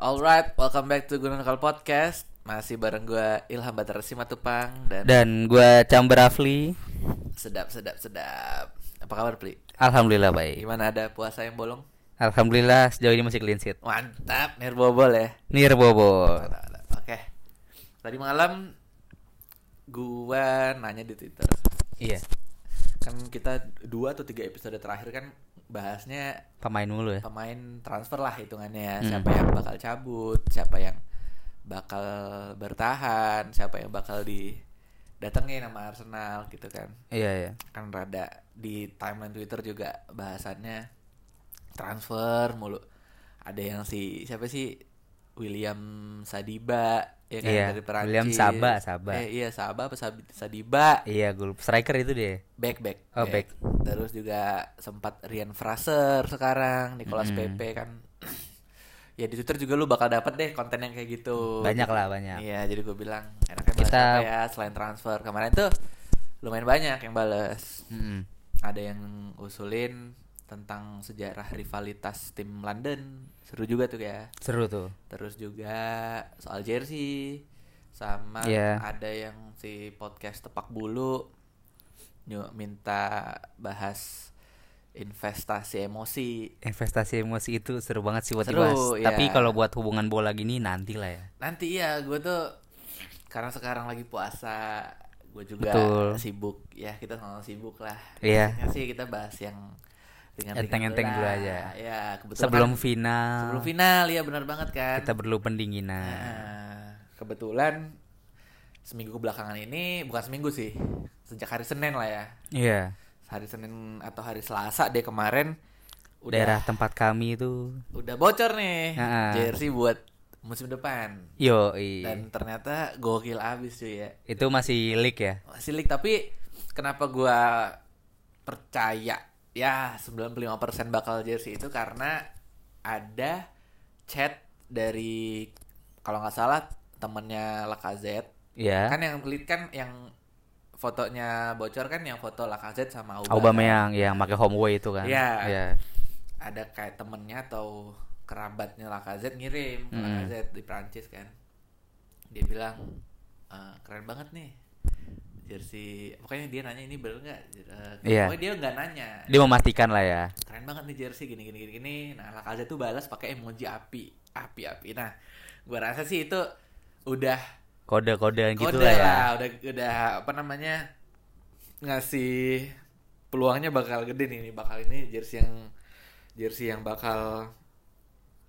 Alright, welcome back to Gunung Lokal Podcast. Masih bareng gue Ilham Batar Simatupang dan, Dan gue Chamber Afli sedap sedap sedap. Apa kabar Pli? Alhamdulillah baik Gimana ada puasa yang bolong? Alhamdulillah sejauh ini masih clean sheet Mantap, nirbobol ya. Nirbobo Mantap, mantap. Oke. Tadi malam gua nanya di Twitter. Iya Kan kita dua atau tiga episode terakhir kan bahasnya Pemain mulu ya pemain transfer lah hitungannya ya. Hmm. siapa yang bakal cabut siapa yang bakal bertahan siapa yang bakal didatengin sama Arsenal gitu kan Iya iya kan rada di timeline Twitter juga bahasannya transfer mulu ada yang si siapa sih William Sadiba ya kan Iya, dari Perancis William Saba, Saba. Eh, iya Saba apa Sabi- Sadiba Iya gue lupa. striker itu dia back back Oh, back. terus juga sempat Rian Fraser sekarang Nicolas Mm-mm. Pepe kan ya di Twitter juga lu bakal dapat deh konten yang kayak gitu Banyak lah banyak iya jadi gue bilang enaknya bahas Kita- apa ya selain transfer kemarin tuh lumayan banyak yang bales Mm-mm. ada yang usulin tentang sejarah rivalitas tim London seru juga tuh ya Seru tuh terus juga soal jersey sama Iya. ada yang si podcast tepak bulu nyu- minta bahas investasi emosi Investasi emosi itu seru banget sih buat Seru, dibahas iya. Tapi kalau buat hubungan bola gini nanti lah ya nanti ya gue tuh karena sekarang lagi puasa gue juga Betul. sibuk ya kita sama sibuk lah Iya. Biasanya sih kita bahas yang ringan-ringan Enteng-enteng dulu lah. aja. ya kebetulan Sebelum kan- final sebelum final ya benar banget kan Kita perlu pendinginan Nah, kebetulan seminggu belakangan ini bukan seminggu sih, sejak hari Senin lah ya. Iya Hari Senin atau hari Selasa deh kemarin udah Daerah tempat kami itu udah bocor nih Ah. jersey buat musim depan. Yo Dan ternyata gokil abis cuy ya. Itu masih leak ya Masih leak, tapi kenapa gua percaya ya 95% bakal jersey itu karena ada chat dari kalau nggak salah temennya Lacazette Iya kan yang lead kan yang fotonya bocor kan yang foto Lacazette sama Aubameyang. Aubameyang iya, yang pakai homeway itu kan. Iya. Iya. Ada kayak temennya atau kerabatnya Lacazette ngirim ke Mm. Lacazette di Prancis kan. Dia bilang "Eh, keren banget nih jersey. Pokoknya dia nanya ini bener nggak? Eh, Iya. Pokoknya dia nggak nanya. Dia memastikan lah ya. Keren banget nih jersey gini gini gini. gini. Nah Lacazette tuh balas pakai emoji api api api. Nah gua rasa sih itu udah Kode-kodean gitu kode lah ya. lah, udah udah apa namanya ngasih peluangnya bakal gede nih, ini bakal ini jersey yang jersey yang bakal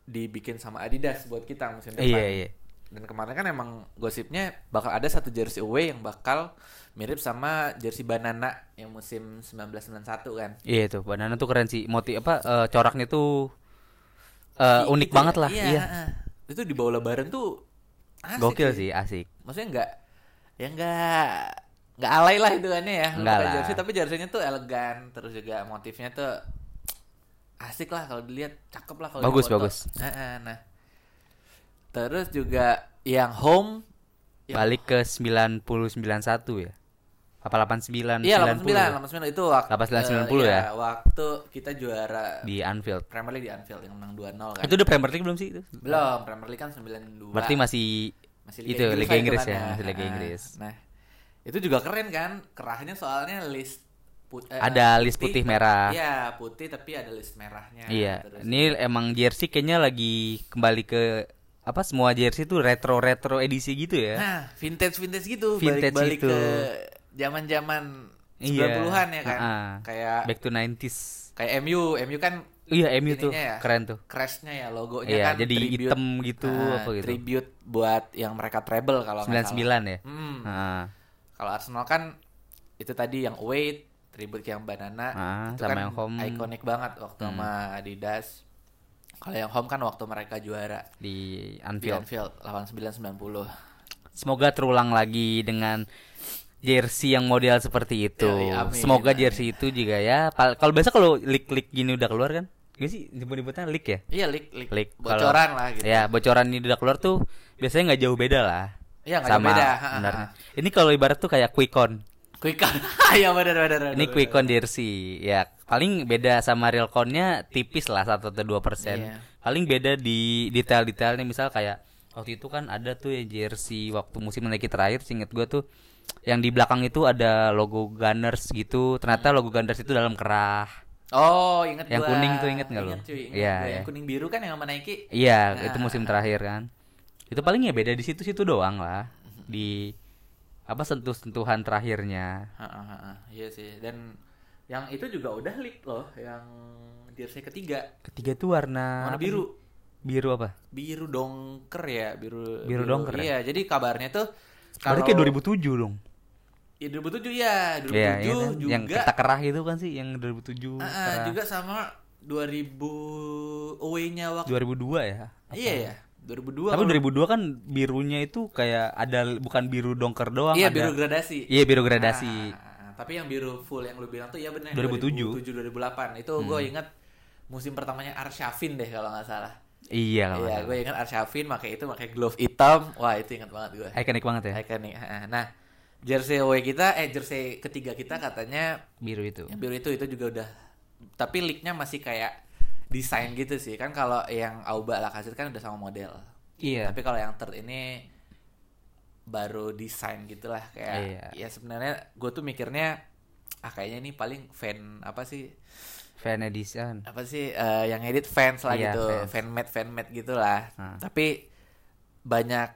dibikin sama Adidas buat kita musim depan. Iya, iya. Dan kemarin kan emang gosipnya bakal ada satu jersey away yang bakal mirip sama jersey banana yang musim 1991 kan. Iya itu. Banana tuh keren sih. Motif apa eh, coraknya tuh eh, I- unik itu- banget lah. Iya. Iya. heeh. Itu di bawah lebaran tuh asik Gokil sih, asik. maksudnya nggak ya nggak nggak alay lah hitungannya ya Lu Nggak pakai lah. jersey tapi jerseynya tuh elegan terus juga motifnya tuh asik lah kalau dilihat cakep lah kalau Bagus, difoto. bagus. Heeh, nah terus juga yang home Ya. Balik ke 991 ya. Apa 89 iya 90 89 89 itu waktu 89, eh, 90 ya? iya, waktu kita juara di Anfield. Premier League di Anfield yang menang 2-0 kan Itu udah Premier League belum sih itu? belum Premier League kan 92 Berarti masih masih itu Liga lah Inggris hitungannya. ya, masih Liga Ah, Inggris. Nah, itu juga keren kan? Kerahnya soalnya list put- eh, Ada list putih, merah. Iya, putih tapi ada list merahnya. Iya, Terus- ini emang jersey kayaknya lagi kembali ke apa semua jersey tuh retro-retro edisi gitu ya. Nah, vintage-vintage gitu, Vintage balik-balik itu. ke zaman-zaman Iya. 90-an ya kan. Ha-ha. Kayak Back to 90s. kayak MU, MU kan Iya, MU tuh ininya ya. keren tuh. crashnya ya logonya Iya, kan jadi hitam gitu, Ah, apa gitu. Tribute buat yang mereka treble kalau nggak 99 salah. ya. Hmm. Heeh. Kalau Arsenal kan itu tadi yang away tribute yang banana Ah, itu sama kan yang home. Hmm. ikonik banget waktu sama Adidas. Kalau yang home kan waktu mereka juara di di Anfield. Anfield 89-90. Semoga terulang lagi dengan jersey yang model seperti itu. Yoi, Iya, amin, amin. Semoga jersey itu juga ya. pal- Kalau biasa kalau leak-leak gini udah keluar kan? Gak sih nyebut-nyebutnya leak ya? Iya, leak, leak, Leak. Kalau- bocoran lah gitu. Ya, bocoran ini udah keluar tuh biasanya nggak jauh beda lah. Iya, nggak jauh sama beda. Ha, ha, benarnya. Ini kalau ibarat tuh kayak quick count. Quick count. Iya, benar benar. benar, Ini benar. quick count jersey ya paling beda sama real countnya tipis lah satu atau dua persen. Iya. paling beda di detail-detailnya misal kayak waktu itu kan ada tuh ya jersey waktu musim naik terakhir seinget gua tuh yang di belakang itu ada logo Gunners gitu ternyata logo Gunners itu dalam kerah Oh, inget Yang gua. kuning tuh inget nggak lu? Inget, cuy, inget Iya, gua. iya. Yang kuning biru kan yang sama Nike. iya Nah. itu musim terakhir kan itu paling ya beda di situ-situ doang lah di apa sentuh-sentuhan terakhirnya Ha, ha, ha, ha. Iya sih. Dan yang itu juga udah leak loh, yang jersey ketiga. ketiga tuh warna Warna apa biru. sih? biru apa Biru dongker ya, biru Biru dongker ya? Iya, jadi kabarnya tuh Berarti kayak 2007 dong Ya, 2007 ya, 2007 Iya, iya kan? juga. yang kita kerah itu kan sih yang 2007 Ah, ah, kerah. juga sama 2000 away-nya waktu 2002 ya Apa? Iya ya, 2002. tapi kalau- 2002 kan birunya itu kayak ada l- bukan biru dongker doang Iya, ada- biru gradasi. iya biru gradasi Ah, tapi yang biru full yang lu bilang tuh ya benar 2007. 2008 itu Hmm. gue ingat musim pertamanya Arsyafin deh kalau nggak salah. iya lah Iya, Mas. gue ingat Arsyafin pakai itu pakai glove hitam. Wah, itu ingat banget gue. ikonik banget ya Iconic. ah, ah. Nah, jersey away kita eh jersey ketiga kita katanya biru itu yang biru itu itu juga udah tapi leaknya masih kayak desain gitu sih kan kalau yang Auba Lacazette kan udah sama model iya tapi kalau yang third ini baru desain gitulah Iya. kayak ya sebenarnya gue tuh mikirnya ah kayaknya ini paling fan apa sih fan edition apa sih eh, yang edit fans lah Iya, gitu fans. fan made fan made gitulah Hmm. tapi banyak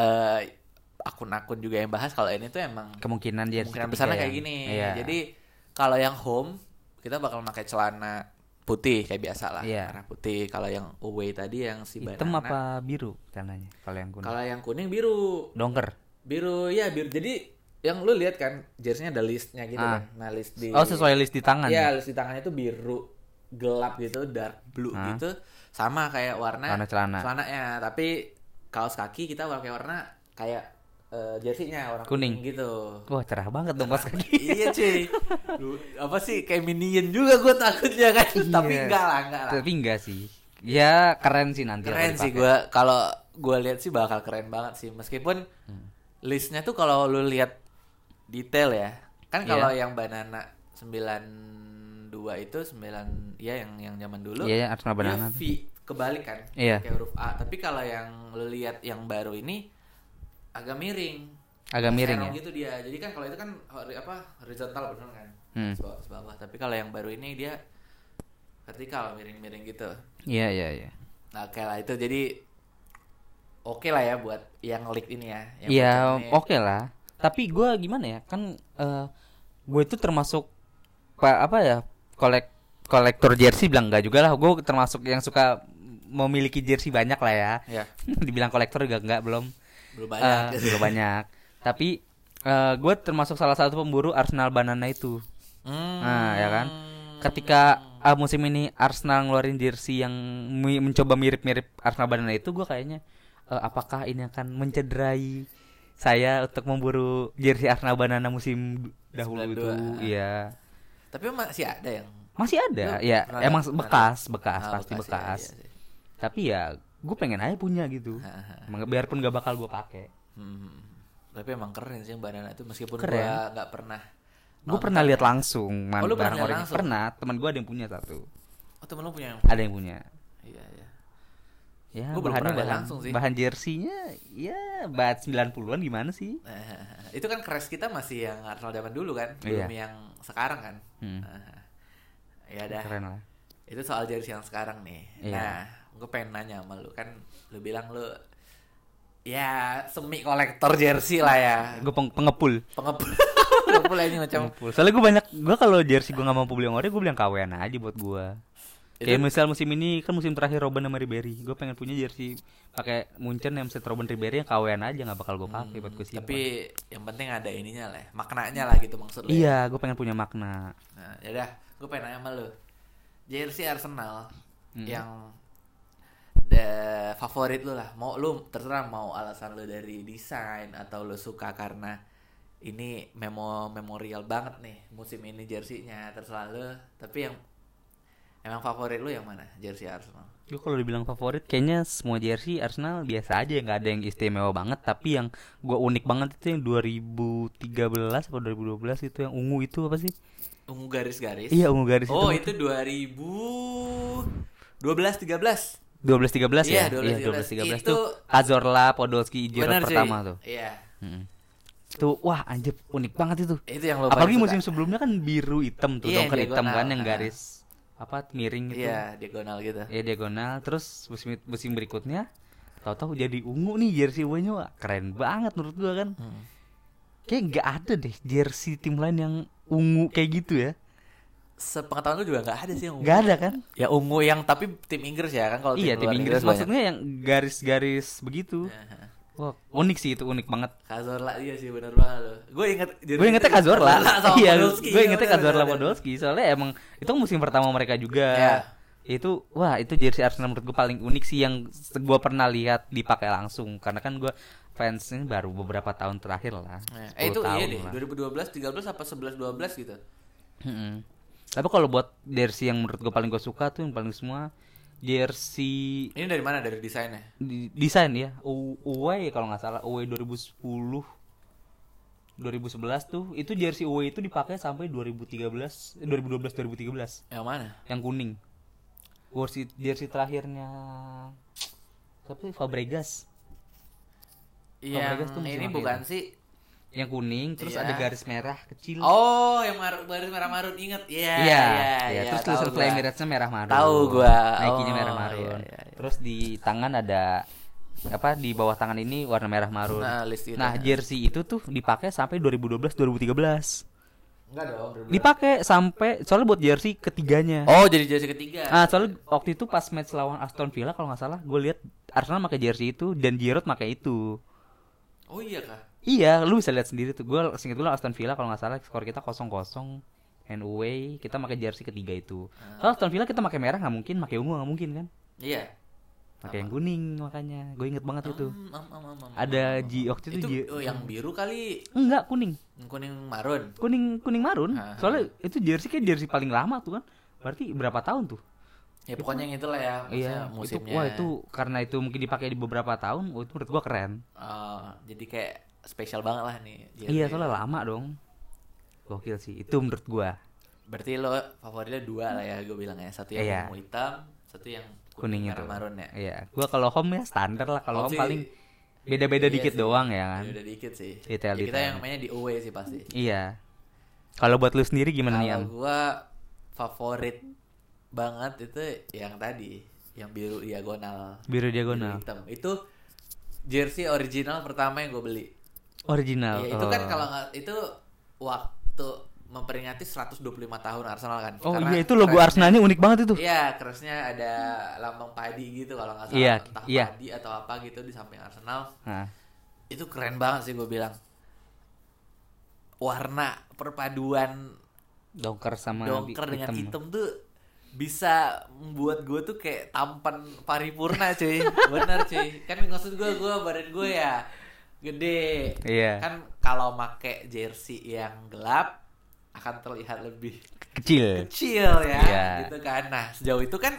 eh, akun-akun juga yang bahas kalau ini tuh emang kemungkinan dia ya. kemungkinan besarnya kayak gini. Iya. Jadi kalau yang home kita bakal pakai celana putih kayak biasa lah, Iya. warna putih. Kalau yang away tadi yang si hitam banana. apa biru celananya kalau yang kuning Kalau yang kuning biru, dongker biru ya biru. Jadi yang lu lihat kan jersey-nya ada listnya gitu kan. Ah. Nah list di oh sesuai list di tangan Iya list di tangannya itu biru gelap gitu, dark blue Ah. gitu, sama kayak warna Warna celana. celananya. Tapi kaos kaki kita pakai warna kayak eh, jersey-nya warna Kuning. kuning gitu. ya? wah cerah banget dong pas kaki iya cuy Lu, apa sih kayak minion juga gue takutnya kan tapi Iya. enggak lah enggak lah tapi enggak sih ya keren sih nanti keren sih gue kalau gue lihat sih bakal keren banget sih meskipun Hmm. listnya tuh kalau lu lihat detail ya kan kalau Iya. yang banana 92 itu 9 ya yang yang zaman dulu Iya, Arsenal dia Banana. V kebalik kan Iya. kayak huruf A tapi kalau yang lu lihat yang baru ini agak miring agak miring ya Serong gitu dia. Jadi kan kalau itu kan hori- apa horizontal bener kan? Hmm. Sebawah, sebawah. Tapi kalau yang baru ini dia vertikal miring-miring gitu. iya iya iya Nah, oke lah itu jadi oke lah ya buat yang leak ini ya. Yang Iya, bocoran ini. oke lah. Tapi gua gimana ya? Kan eh gue itu termasuk pa- apa ya? Kolek kolektor jersey bilang enggak juga lah. Gue termasuk yang suka memiliki jersey banyak lah ya. Ya, Dibilang kolektor juga enggak belum. belum Eh, banyak. gitu. belum banyak. Tapi eh gue termasuk salah satu pemburu Arsenal Banana itu. Hmm. Nah, ya kan? Ketika ah, musim ini Arsenal ngeluarin jersey yang mi- mencoba mirip-mirip Arsenal Banana itu gue kayaknya eh, apakah ini akan mencederai saya untuk memburu jersey Arsenal Banana musim dahulu 92, itu ah. iya Tapi masih ada yang masih ada Lu ya pernah emang lihat? bekas bekas Ah, pasti ya, bekas iya sih. tapi ya gue pengen aja punya gitu Emang biarpun gak bakal gue pakai Hmm. Tapi emang keren sih yang banana itu meskipun Keren. gua nggak pernah. gue pernah lihat langsung Oh, man, lu pernah barang lihat orang langsung? pernah teman gue ada yang punya satu Oh, temen lu punya yang ada yang punya Iya, iya. Ya, Gua belum bahannya pernah lihat bahan, langsung sih. bahan jersinya ya bahan 90-an gimana sih? Eh, itu kan crash kita masih yang Arsenal zaman dulu kan, Iya. belum yang sekarang kan. Hmm. Eh, ya dah. Keren lah. Itu soal jersey yang sekarang nih. Iya. Nah, gue pengen nanya sama lu kan, lu bilang lu ya semi kolektor jersey lah ya. Gue pengepul. Pengepul, pengepul aja macam. Pengepul. Soalnya gue banyak gue kalau jersey gue gak mampu beli yang ori gue beli yang KWN aja buat gue. Kayak Itu- misal musim ini kan musim terakhir Robin sama Ribery. Gue pengen punya jersey pakai Munchen yang set Robin Ribery yang KWN aja nggak bakal gue pakai buat gue simpan. Hmm, Tapi yang penting ada ininya lah, maknanya lah gitu maksud lu. ya. Iya, gue pengen punya makna. Nah, ya dah, gue pengen nanya sama lu. Jersey Arsenal yang the favorit lu lah. Mau lu terserah mau alasan lu dari desain atau lu suka karena ini memo memorial banget nih musim ini jersinya terserah lu. Tapi yang emang favorit lu yang mana? Jersey Arsenal. Gue kalau dibilang favorit kayaknya semua jersey Arsenal biasa aja nggak ada yang istimewa banget tapi yang gue unik banget itu yang 2013 atau 2012 itu yang ungu itu apa sih? Ungu garis-garis. Iya ungu garis oh, itu. itu 2000 12 13. 12 13 Iya, ya? 12, 13. 12 13 itu Azorla, Podolski, Giroud Bener sih. pertama tuh. Iya. Mm-mm. Tuh wah anjir unik banget itu. Itu yang lo Apalagi paling musim suka. sebelumnya kan biru hitam tuh, Iya, dongker hitam diagonal, kan yang ah. garis apa miring gitu. Iya, diagonal gitu. Ya diagonal terus musim musim berikutnya tahu-tahu jadi ungu nih jersey ungunya Wah, keren banget menurut gua kan. Hmm. Kayak nggak ada deh jersey tim lain yang ungu kayak gitu ya. Sepengetahuan gue juga nggak ada sih yang ungu. Nggak ada kan? Ya ungu yang tapi tim Inggris ya kan kalau Iya tim luar Inggris banyak. maksudnya yang garis-garis begitu. Aha. Iya. Wah unik sih itu unik banget. Kazorla iya sih bener banget lo. Gue inget Gue ingetnya Kazorla. Iya, gue ingetnya Kazorla Podolski. Podolski. Soalnya emang itu musim pertama mereka juga. Iya. Itu wah itu jersey Arsenal menurut gue paling unik sih yang se- gue pernah lihat dipakai langsung karena kan gue fansnya baru beberapa tahun terakhir lah. Iya. Eh 10 itu iya tahun deh lah. 2012 13 apa 11 12 gitu. Mm-mm. Tapi kalau buat jersey yang menurut gue paling gue suka tuh yang paling semua jersey Ini dari mana dari desainnya? di- desain ya U- Uwe kalau nggak salah Uwe 2010 2011 tuh itu jersey Uwe itu dipakai sampai 2013 eh, 2012 2013 Yang mana? yang kuning jersey jersey terakhirnya tapi Fabregas Yang Vegas tuh musim ini apa bukan itu? sih. yang kuning terus Iya. ada garis merah kecil Oh, yang mar baris merah marun inget. Iya. Iya, iya, iya. terus tahu tulisan gua. Fly Emirates-nya merah marun. Tahu gua. Nike-nya Oh, merah marun. iya, iya, iya. Terus di tangan ada apa di bawah tangan ini warna merah marun. Nah, list itu. Nah, jersey itu tuh dipakai sampai 2012 2013. Enggak dong. Dipakai sampai soalnya buat jersey ketiganya. Oh, jadi jersey ketiga. Ah, soalnya waktu itu pas match lawan Aston Villa kalau nggak salah, gue lihat Arsenal pakai jersey itu dan Giroud pakai itu. Oh iya kah? Iya, lu bisa lihat sendiri tuh. Gue singkat dulu Aston Villa kalau nggak salah skor kita 0-0 and away kita pakai jersey ketiga itu. Kalau Aston Villa kita pakai merah nggak mungkin, pakai ungu nggak mungkin kan? Iya. Pakai yang kuning makanya. Gue inget banget itu. Hmm, am, am, am, am, Ada am, am, Ji- am. waktu itu Ji- oh, yang biru kali, Enggak kuning, yang kuning marun. kuning kuning marun. Ah. Soalnya itu jersey kayak jersey paling lama tuh kan. Berarti berapa tahun tuh? Ya pokoknya yang itulah ya, maksudnya Iya, itu musimnya. wah itu karena itu mungkin dipakai di beberapa tahun, oh, itu menurut gua keren. Oh, jadi kayak spesial banget lah nih. jersey. Iya, soalnya lama dong. Gokil sih, itu menurut gua. Berarti lo favoritnya dua lah ya, gue bilang ya. Satu yang Iya. ungu hitam, satu yang kuning itu. merah marun ya. Iya, gua kalau home ya standar lah kalau Home home sih- paling beda-beda Iya dikit sih. doang ya kan. Udah dikit sih. Detail, Ya, kita detail. yang mainnya di away sih pasti. Iya. Kalau buat lu sendiri gimana nih? Am? Kalau gua favorit banget itu yang tadi, yang biru diagonal. Biru Biru diagonal. hitam. Itu jersey original pertama yang gue beli. Original. Ya, itu kan Oh. kalau nggak itu waktu memperingati 125 tahun Arsenal kan. Oh Karena iya itu logo crest- Arsenalnya unik banget itu. Iya, kerasnya ada lambang padi gitu kalau nggak salah, Iya, entah iya. padi atau apa gitu di samping Arsenal. Nah, Itu keren banget sih gue bilang. Warna perpaduan dongker sama dongker bi- dengan hitam tuh bisa membuat gue tuh kayak tampan paripurna cuy bener cuy kan maksud gue gue badan gue ya gede Iya. kan kalau make jersey yang gelap akan terlihat lebih Kecil. kecil ya Iya. gitu kan nah sejauh itu kan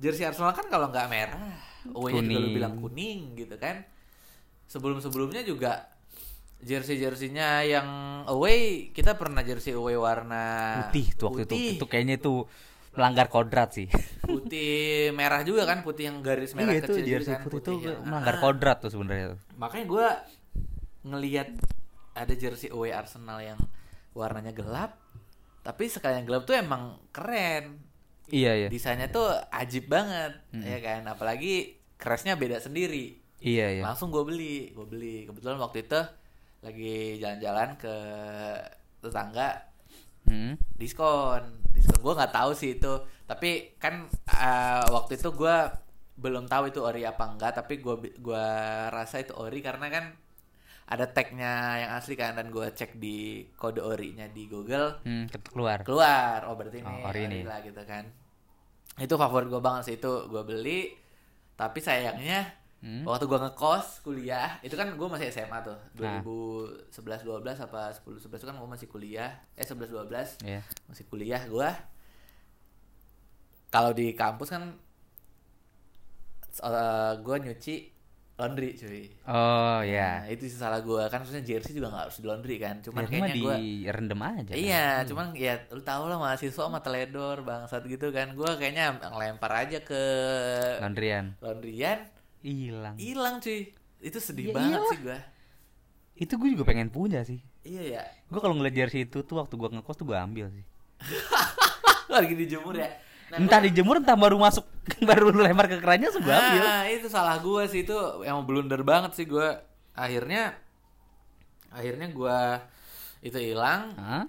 jersey Arsenal kan kalau nggak merah away juga lu Kuning. bilang kuning gitu kan sebelum sebelumnya juga jersey jersinya yang away kita pernah jersey away warna Putih tuh waktu putih, itu. Itu kayaknya itu melanggar kodrat sih. putih merah juga kan putih yang garis merah Iya itu kecil juga jersey kan, putih itu yang- melanggar kodrat tuh sebenarnya. makanya gue ngelihat ada jersey away Arsenal yang warnanya gelap tapi sekali yang gelap tuh emang keren Iya iya. desainnya tuh ajib banget ya kan apalagi crashnya beda sendiri Iya iya. langsung gue beli gue beli kebetulan waktu itu lagi jalan-jalan ke tetangga Hmm. diskon diskon gue nggak tahu sih itu tapi kan eh, waktu itu gue belum tahu itu ori apa enggak tapi gue gua rasa itu ori karena kan ada tagnya yang asli kan dan gue cek di kode orinya di Google Hmm, ket- keluar. keluar oh berarti ini Oh, ori ori nih. lah gitu kan itu favorit gue banget sih itu gue beli tapi sayangnya Hmm. waktu gue ngekos kuliah itu kan gue masih SMA tuh Nah. 2011 12 apa 10 11 itu kan gue masih kuliah eh 11 12 Iya. masih kuliah gue kalau di kampus kan gue eh, nyuci laundry cuy. Oh ya. Nah, itu sih salah gue kan maksudnya jersey juga nggak harus di laundry kan. Cuman Cuman kayaknya di gue rendem aja. kan? Iya, cuman ya lu tau lah mahasiswa sama teledor bangsat gitu kan. Gua kayaknya ngelempar aja ke Laundryan. laundryan, Hilang. hilang cuy. Itu sedih Ya banget iyalah. sih gua. Itu gue juga pengen punya sih. Iya ya. Gue kalau ngeliat jersey itu tuh waktu gue ngekos tuh gue ambil sih. Lagi dijemur ya. entah dijemur entah baru masuk baru lu lempar ke kerannya langsung gue ambil. Nah, itu salah gua sih itu emang blunder banget sih gua. Akhirnya akhirnya gua itu hilang. Hah?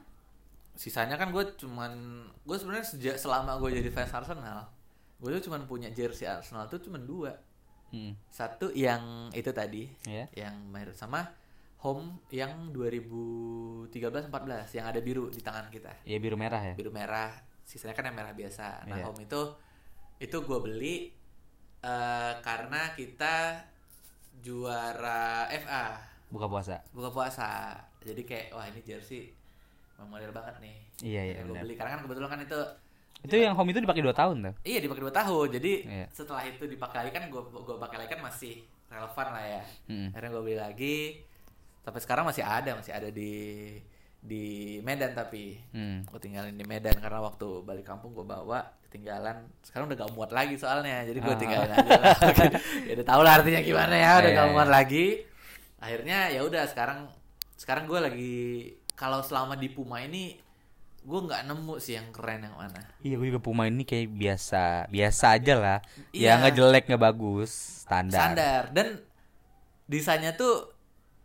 Sisanya kan gue cuman gue sebenarnya sejak selama gue jadi fans Arsenal, gue tuh cuman punya jersey Arsenal tuh cuman dua. Hmm. Satu yang itu tadi, Iya. yang merah sama home yang 2013-14 yang ada biru di tangan kita. Iya biru merah ya. Biru merah, sisanya kan yang merah biasa. Nah, Iya. home itu itu gue beli eh, karena kita juara FA Buka puasa. buka puasa. Jadi kayak wah ini jersey memorial banget nih. Iya, iya, Gue benar. beli karena kan kebetulan kan itu Itu yang home itu dipakai 2 tahun tuh. iya dipakai dua tahun. Jadi Iya. setelah itu dipakai lagi kan gue gue pakai lagi kan masih relevan lah ya. Mm. Akhirnya gue beli lagi. Sampai sekarang masih ada, masih ada di di Medan tapi Hmm. gue tinggalin di Medan karena waktu balik kampung gue bawa ketinggalan sekarang udah gak muat lagi soalnya jadi gue Ah. tinggalin aja lah. ya udah tau lah artinya gimana ya udah Iya, gak iya. muat lagi akhirnya ya udah sekarang sekarang gue lagi kalau selama di Puma ini gue nggak nemu sih yang keren yang mana Iya gue juga Puma ini kayak biasa biasa aja lah. Iya. Ya nggak jelek nggak bagus standar. standar dan desainnya tuh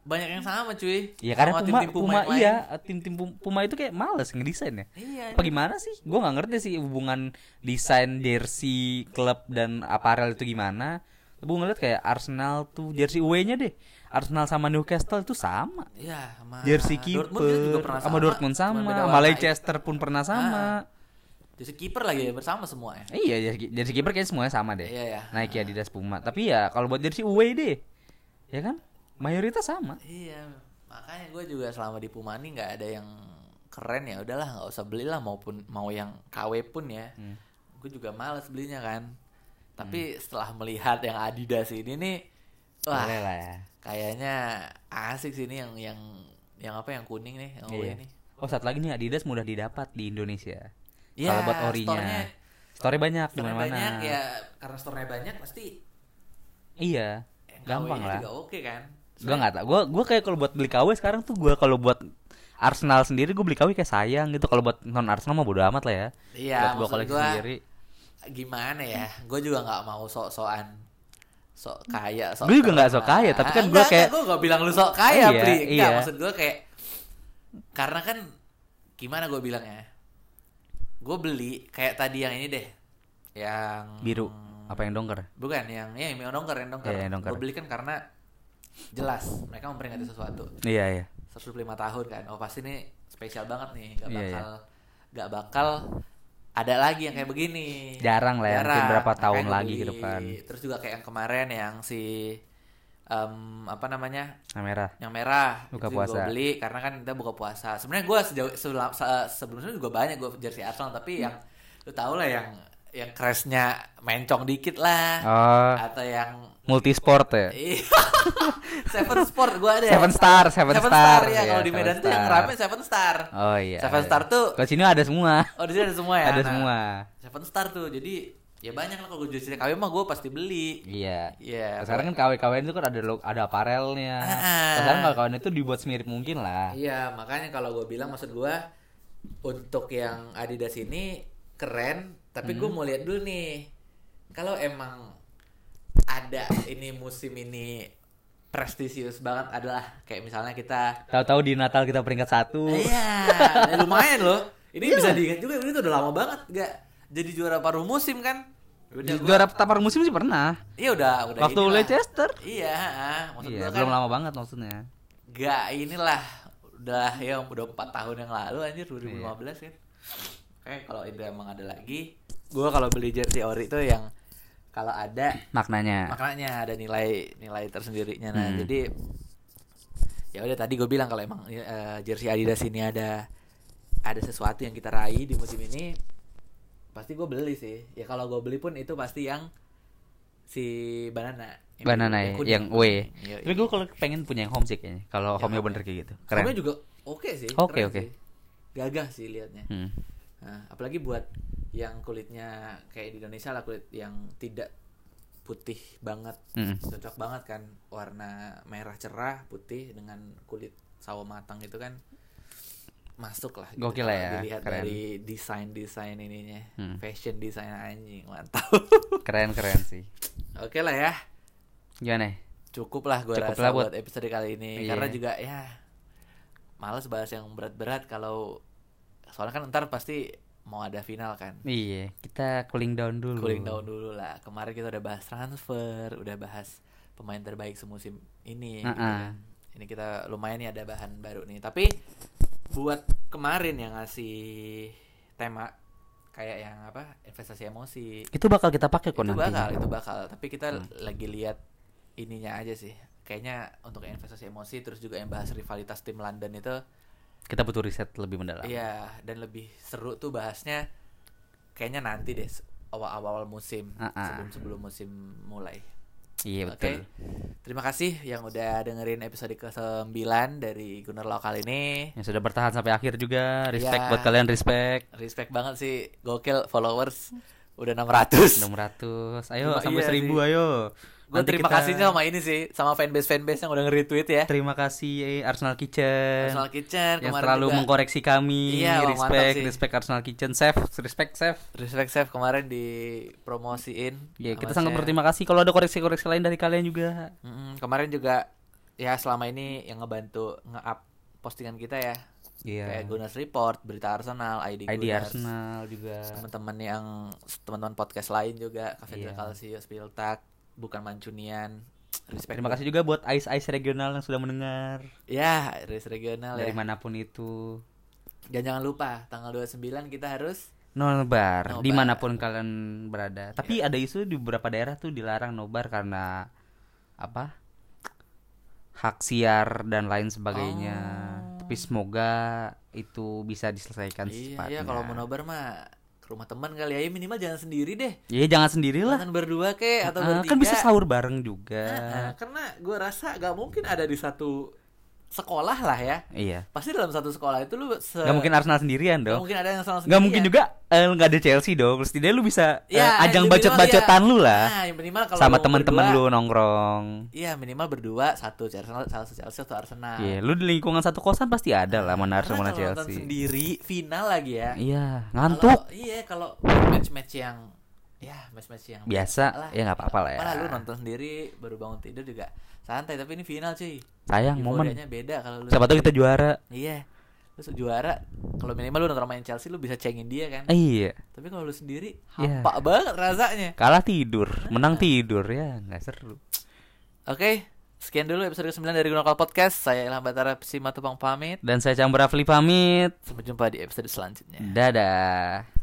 banyak yang sama cuy Iya karena Sama Puma, tim-tim Puma, yang lain. iya tim-tim Pum- Puma itu kayak males ngedesain ya. iya Apa gimana sih? Gue nggak ngerti sih hubungan desain jersey klub dan aparel itu gimana. Gue ngeliat kayak Arsenal tuh jersey away-nya deh. Arsenal sama Newcastle itu sama. iya sama Jersey Dortmund kiper itu juga pernah sama cuman Dortmund sama, beda sama warna. ya. Leicester pun pernah sama. jersey kiper lagi ya, bersama semua ya Iya jersey, jersey kiper kayaknya semuanya sama deh. iya ya Nike, Adidas, Puma. Tapi ya kalau buat jersey away deh. Ya kan? Mayoritas sama. Iya, makanya gue juga selama di Puma nih nggak ada yang keren ya udahlah nggak usah belilah maupun mau yang KW pun ya. Hmm. Gue juga males belinya kan. Tapi setelah melihat yang Adidas ini nih, wah Boleh lah ya. kayaknya asik sih ini yang yang yang apa yang kuning nih yang Iya. away nih. Oh satu lagi nih Adidas mudah didapat di Indonesia. Iya, Kalau buat orinya. store-nya- Store banyak di Store mana banyak mana. ya karena store-nya banyak pasti Iya. yang Gampang KW-nya lah. Eh, juga oke kan. Gua nggak tau. Gua gua kayak kalau buat beli KW sekarang tuh gua kalau buat Arsenal sendiri gue beli KW kayak sayang gitu kalau buat non Arsenal mah bodo amat lah ya. Iya, buat gua maksud koleksi gua- Hmm. sendiri. Gimana ya? Gue juga nggak mau sok-sokan sok kaya sok Gua juga nggak sok terkenal. kaya, tapi kan Ah, gua nggak, kayak- nggak, gua nggak bilang lu sok kaya Iya, Pri Nggak, iya. maksud gue kayak karena kan gimana gue bilangnya gue beli kayak tadi yang ini deh yang Biru. Apa yang dongker? bukan yang ya yang dongker yang dongker, Iya, yang dongker. gue beli kan karena jelas mereka memperingati sesuatu Iya iya. 105 tahun kan oh pasti ini spesial banget nih nggak Iya, bakal nggak bakal ada lagi yang kayak begini Jarang lah ya, mungkin berapa Iya. Makanya tahun gua lagi gitu kan. ke beli. depan. terus juga kayak yang kemarin yang si em, apa namanya Nah, merah. yang merah Buka itu juga puasa. gua beli karena kan kita buka puasa sebenarnya gue sejauh sebelum- se- sebelumnya juga banyak gue jersey Arsenal Hmm. tapi yang lu tau lah yang yang crashnya mencong dikit lah Oh, atau yang multisport ya. Iya. Seven Sport gue ada Seven Star, Seven Star, ya iya, kalau di Seven Medan tuh yang Star. rame Seven Star Oh iya. Seven Star tuh- Kalau sini ada semua. oh di sini ada semua ya ada Nah, semua. Seven Star tuh jadi ya banyak lah kalau gue jadi KW mah gue pasti beli Iya. Iya. Sekarang kan KW-KW itu kan ada lo- ada aparelnya. Ah. Sekarang kalau KW itu dibuat semirip mungkin lah. Iya, makanya kalau gue bilang maksud gue untuk yang Adidas ini keren, tapi gue mau lihat dulu nih. Kalau emang ada ini musim ini prestisius banget adalah kayak misalnya kita Tahu-tahu di Natal kita peringkat satu. Iya, ya lumayan loh. Ini Iya. bisa diingat juga ini tuh udah lama banget nggak jadi juara paruh musim kan. Udah Di gua- Juara tapar musim sih pernah. Iya udah udah Waktu inilah. Leicester. Iya, heeh. maksud Iya, gua kan belum lama banget maksudnya. gak inilah udah ya udah 4 tahun yang lalu anjir 2015 kan kayak kalau itu emang ada lagi gua kalau beli jersey ori itu yang kalau ada Nah. Maknanya. maknanya ada nilai nilai tersendirinya nah jadi ya udah tadi gue bilang kalau emang eh, jersey Adidas ini ada ada sesuatu yang kita raih di musim ini pasti gue beli sih ya kalau gue beli pun itu pasti yang si banana Yang Banana biru, ya, kuning. yang W. Iya, Tapi gue kalau pengen punya yang home sih kayaknya. Kalau home-nya bener kayak gitu. Keren. Homenya juga oke sih. Oke, keren oke. sih. Gagah sih liatnya. Hmm. Nah, apalagi buat yang kulitnya kayak di Indonesia lah kulit yang tidak putih banget. Mm. Cocok banget kan warna merah cerah putih dengan kulit sawo matang itu kan masuk lah. Gokil lah kalau ya, Dilihat keren. dari desain desain ininya, Hmm. fashion desain anjing mantap. Keren keren sih. oke lah ya. Gimana? ya? cukup lah gue Cukup rasa lah buat buat- episode kali ini Iya. karena juga ya males bahas yang berat-berat kalau soalnya kan ntar pasti mau ada final kan Iya, kita cooling down dulu. cooling down dulu lah kemarin kita udah bahas transfer udah bahas pemain terbaik semusim ini gitu kan. Uh-uh. ini kita lumayan nih ada bahan baru nih tapi buat kemarin yang ngasih tema kayak yang apa investasi emosi Itu Hmm. bakal kita pakai kok itu nanti. bakal itu bakal tapi kita lagi lihat ininya aja sih kayaknya untuk yang investasi emosi terus juga yang bahas rivalitas tim London itu Kita butuh riset lebih mendalam. iya dan lebih seru tuh bahasnya kayaknya nanti deh se- awal-awal musim Ah, ah. sebelum sebelum musim mulai oke Iya, betul. terima kasih yang udah dengerin episode ke 9 dari Gunner Lokal ini Yang sudah bertahan sampai akhir juga. Respect Iya. buat kalian, respect. respect banget sih gokil followers udah 600 600. Ayo Cuma sampai iya 1000 sih. ayo. gue Nanti terima kita- kasihnya sama ini sih sama fanbase fanbase yang udah nge-retweet ya Terima kasih eh, Arsenal Kitchen. Arsenal Kitchen yang kemarin selalu juga. mengkoreksi kami. Iya, wah, mantap respect, sih. respect Arsenal Kitchen. Chef, respect chef. Respect Chef kemarin dipromosiin. Ya, sama kita sangat Chef. berterima kasih kalau ada koreksi-koreksi lain dari kalian juga. Mm-mm, kemarin juga ya selama ini yang ngebantu nge-up postingan kita ya. Kayak Iya. Gunners Report, berita Arsenal, ID, ID Gunners, Arsenal juga. Teman-teman yang teman-teman podcast lain juga, Cafe Iya. Del Calcio, Spiltak, bukan Mancunian. Respect. Terima buat- kasih juga buat Ice Ice regional yang sudah mendengar Ya, Iris regional ya. dari manapun itu. Dan jangan lupa tanggal 29 kita harus Nobar Nobar. Iya. dimanapun kalian berada. Tapi ada isu di beberapa daerah tuh dilarang nobar karena apa? Hak siar dan lain sebagainya. Tapi semoga itu bisa diselesaikan Oh. Iya, secepatnya. iya, kalau mau nobar mah ke rumah teman kali ya. Ya, minimal jangan sendiri deh. Iya, jangan sendirilah. Jangan berdua kek Iya, atau Ah, bertiga. kan bisa sahur bareng Nah, juga. karena gue rasa gak mungkin ada di satu sekolah lah ya. Iya. Pasti dalam satu sekolah itu lu se Gak mungkin Arsenal sendirian nggak dong. mungkin ada yang salah Gak mungkin juga eh, nggak ada Chelsea dong. Setidaknya lu bisa eh, Ya, ajang bacot-bacotan lu lah. Iya, Nah, yang minimal kalau sama lu teman-teman berdua- lu nongkrong. Iya, minimal berdua satu Arsenal, satu Chelsea, satu Arsenal. Iya, lu di lingkungan satu kosan pasti ada lah Karena mana Arsenal mana kalau nonton Chelsea. sendiri final lagi ya. Iya, Kalau- ngantuk. Iya, kalau match-match yang ya match-match yang Biasa, ya nggak apa-apa lah ya. Malah lu nonton sendiri baru bangun tidur juga santai, tapi ini final cuy. Sayang momen. Iya, Euforianya beda kalau lu Siapa tahu gitu. kita juara. Iya. Terus juara kalau minimal lu nonton main Chelsea lu bisa cengin dia kan. Eh, Iya, Tapi kalau lu sendiri Iya. hampa banget rasanya. kalah tidur, menang tidur ya, nggak seru. Oke, sekian dulu episode 9 dari Gunakal Podcast. Saya Ilham Batara Simatupang pamit. Dan saya Chandra Rafli pamit. Sampai jumpa di episode selanjutnya. Dadah.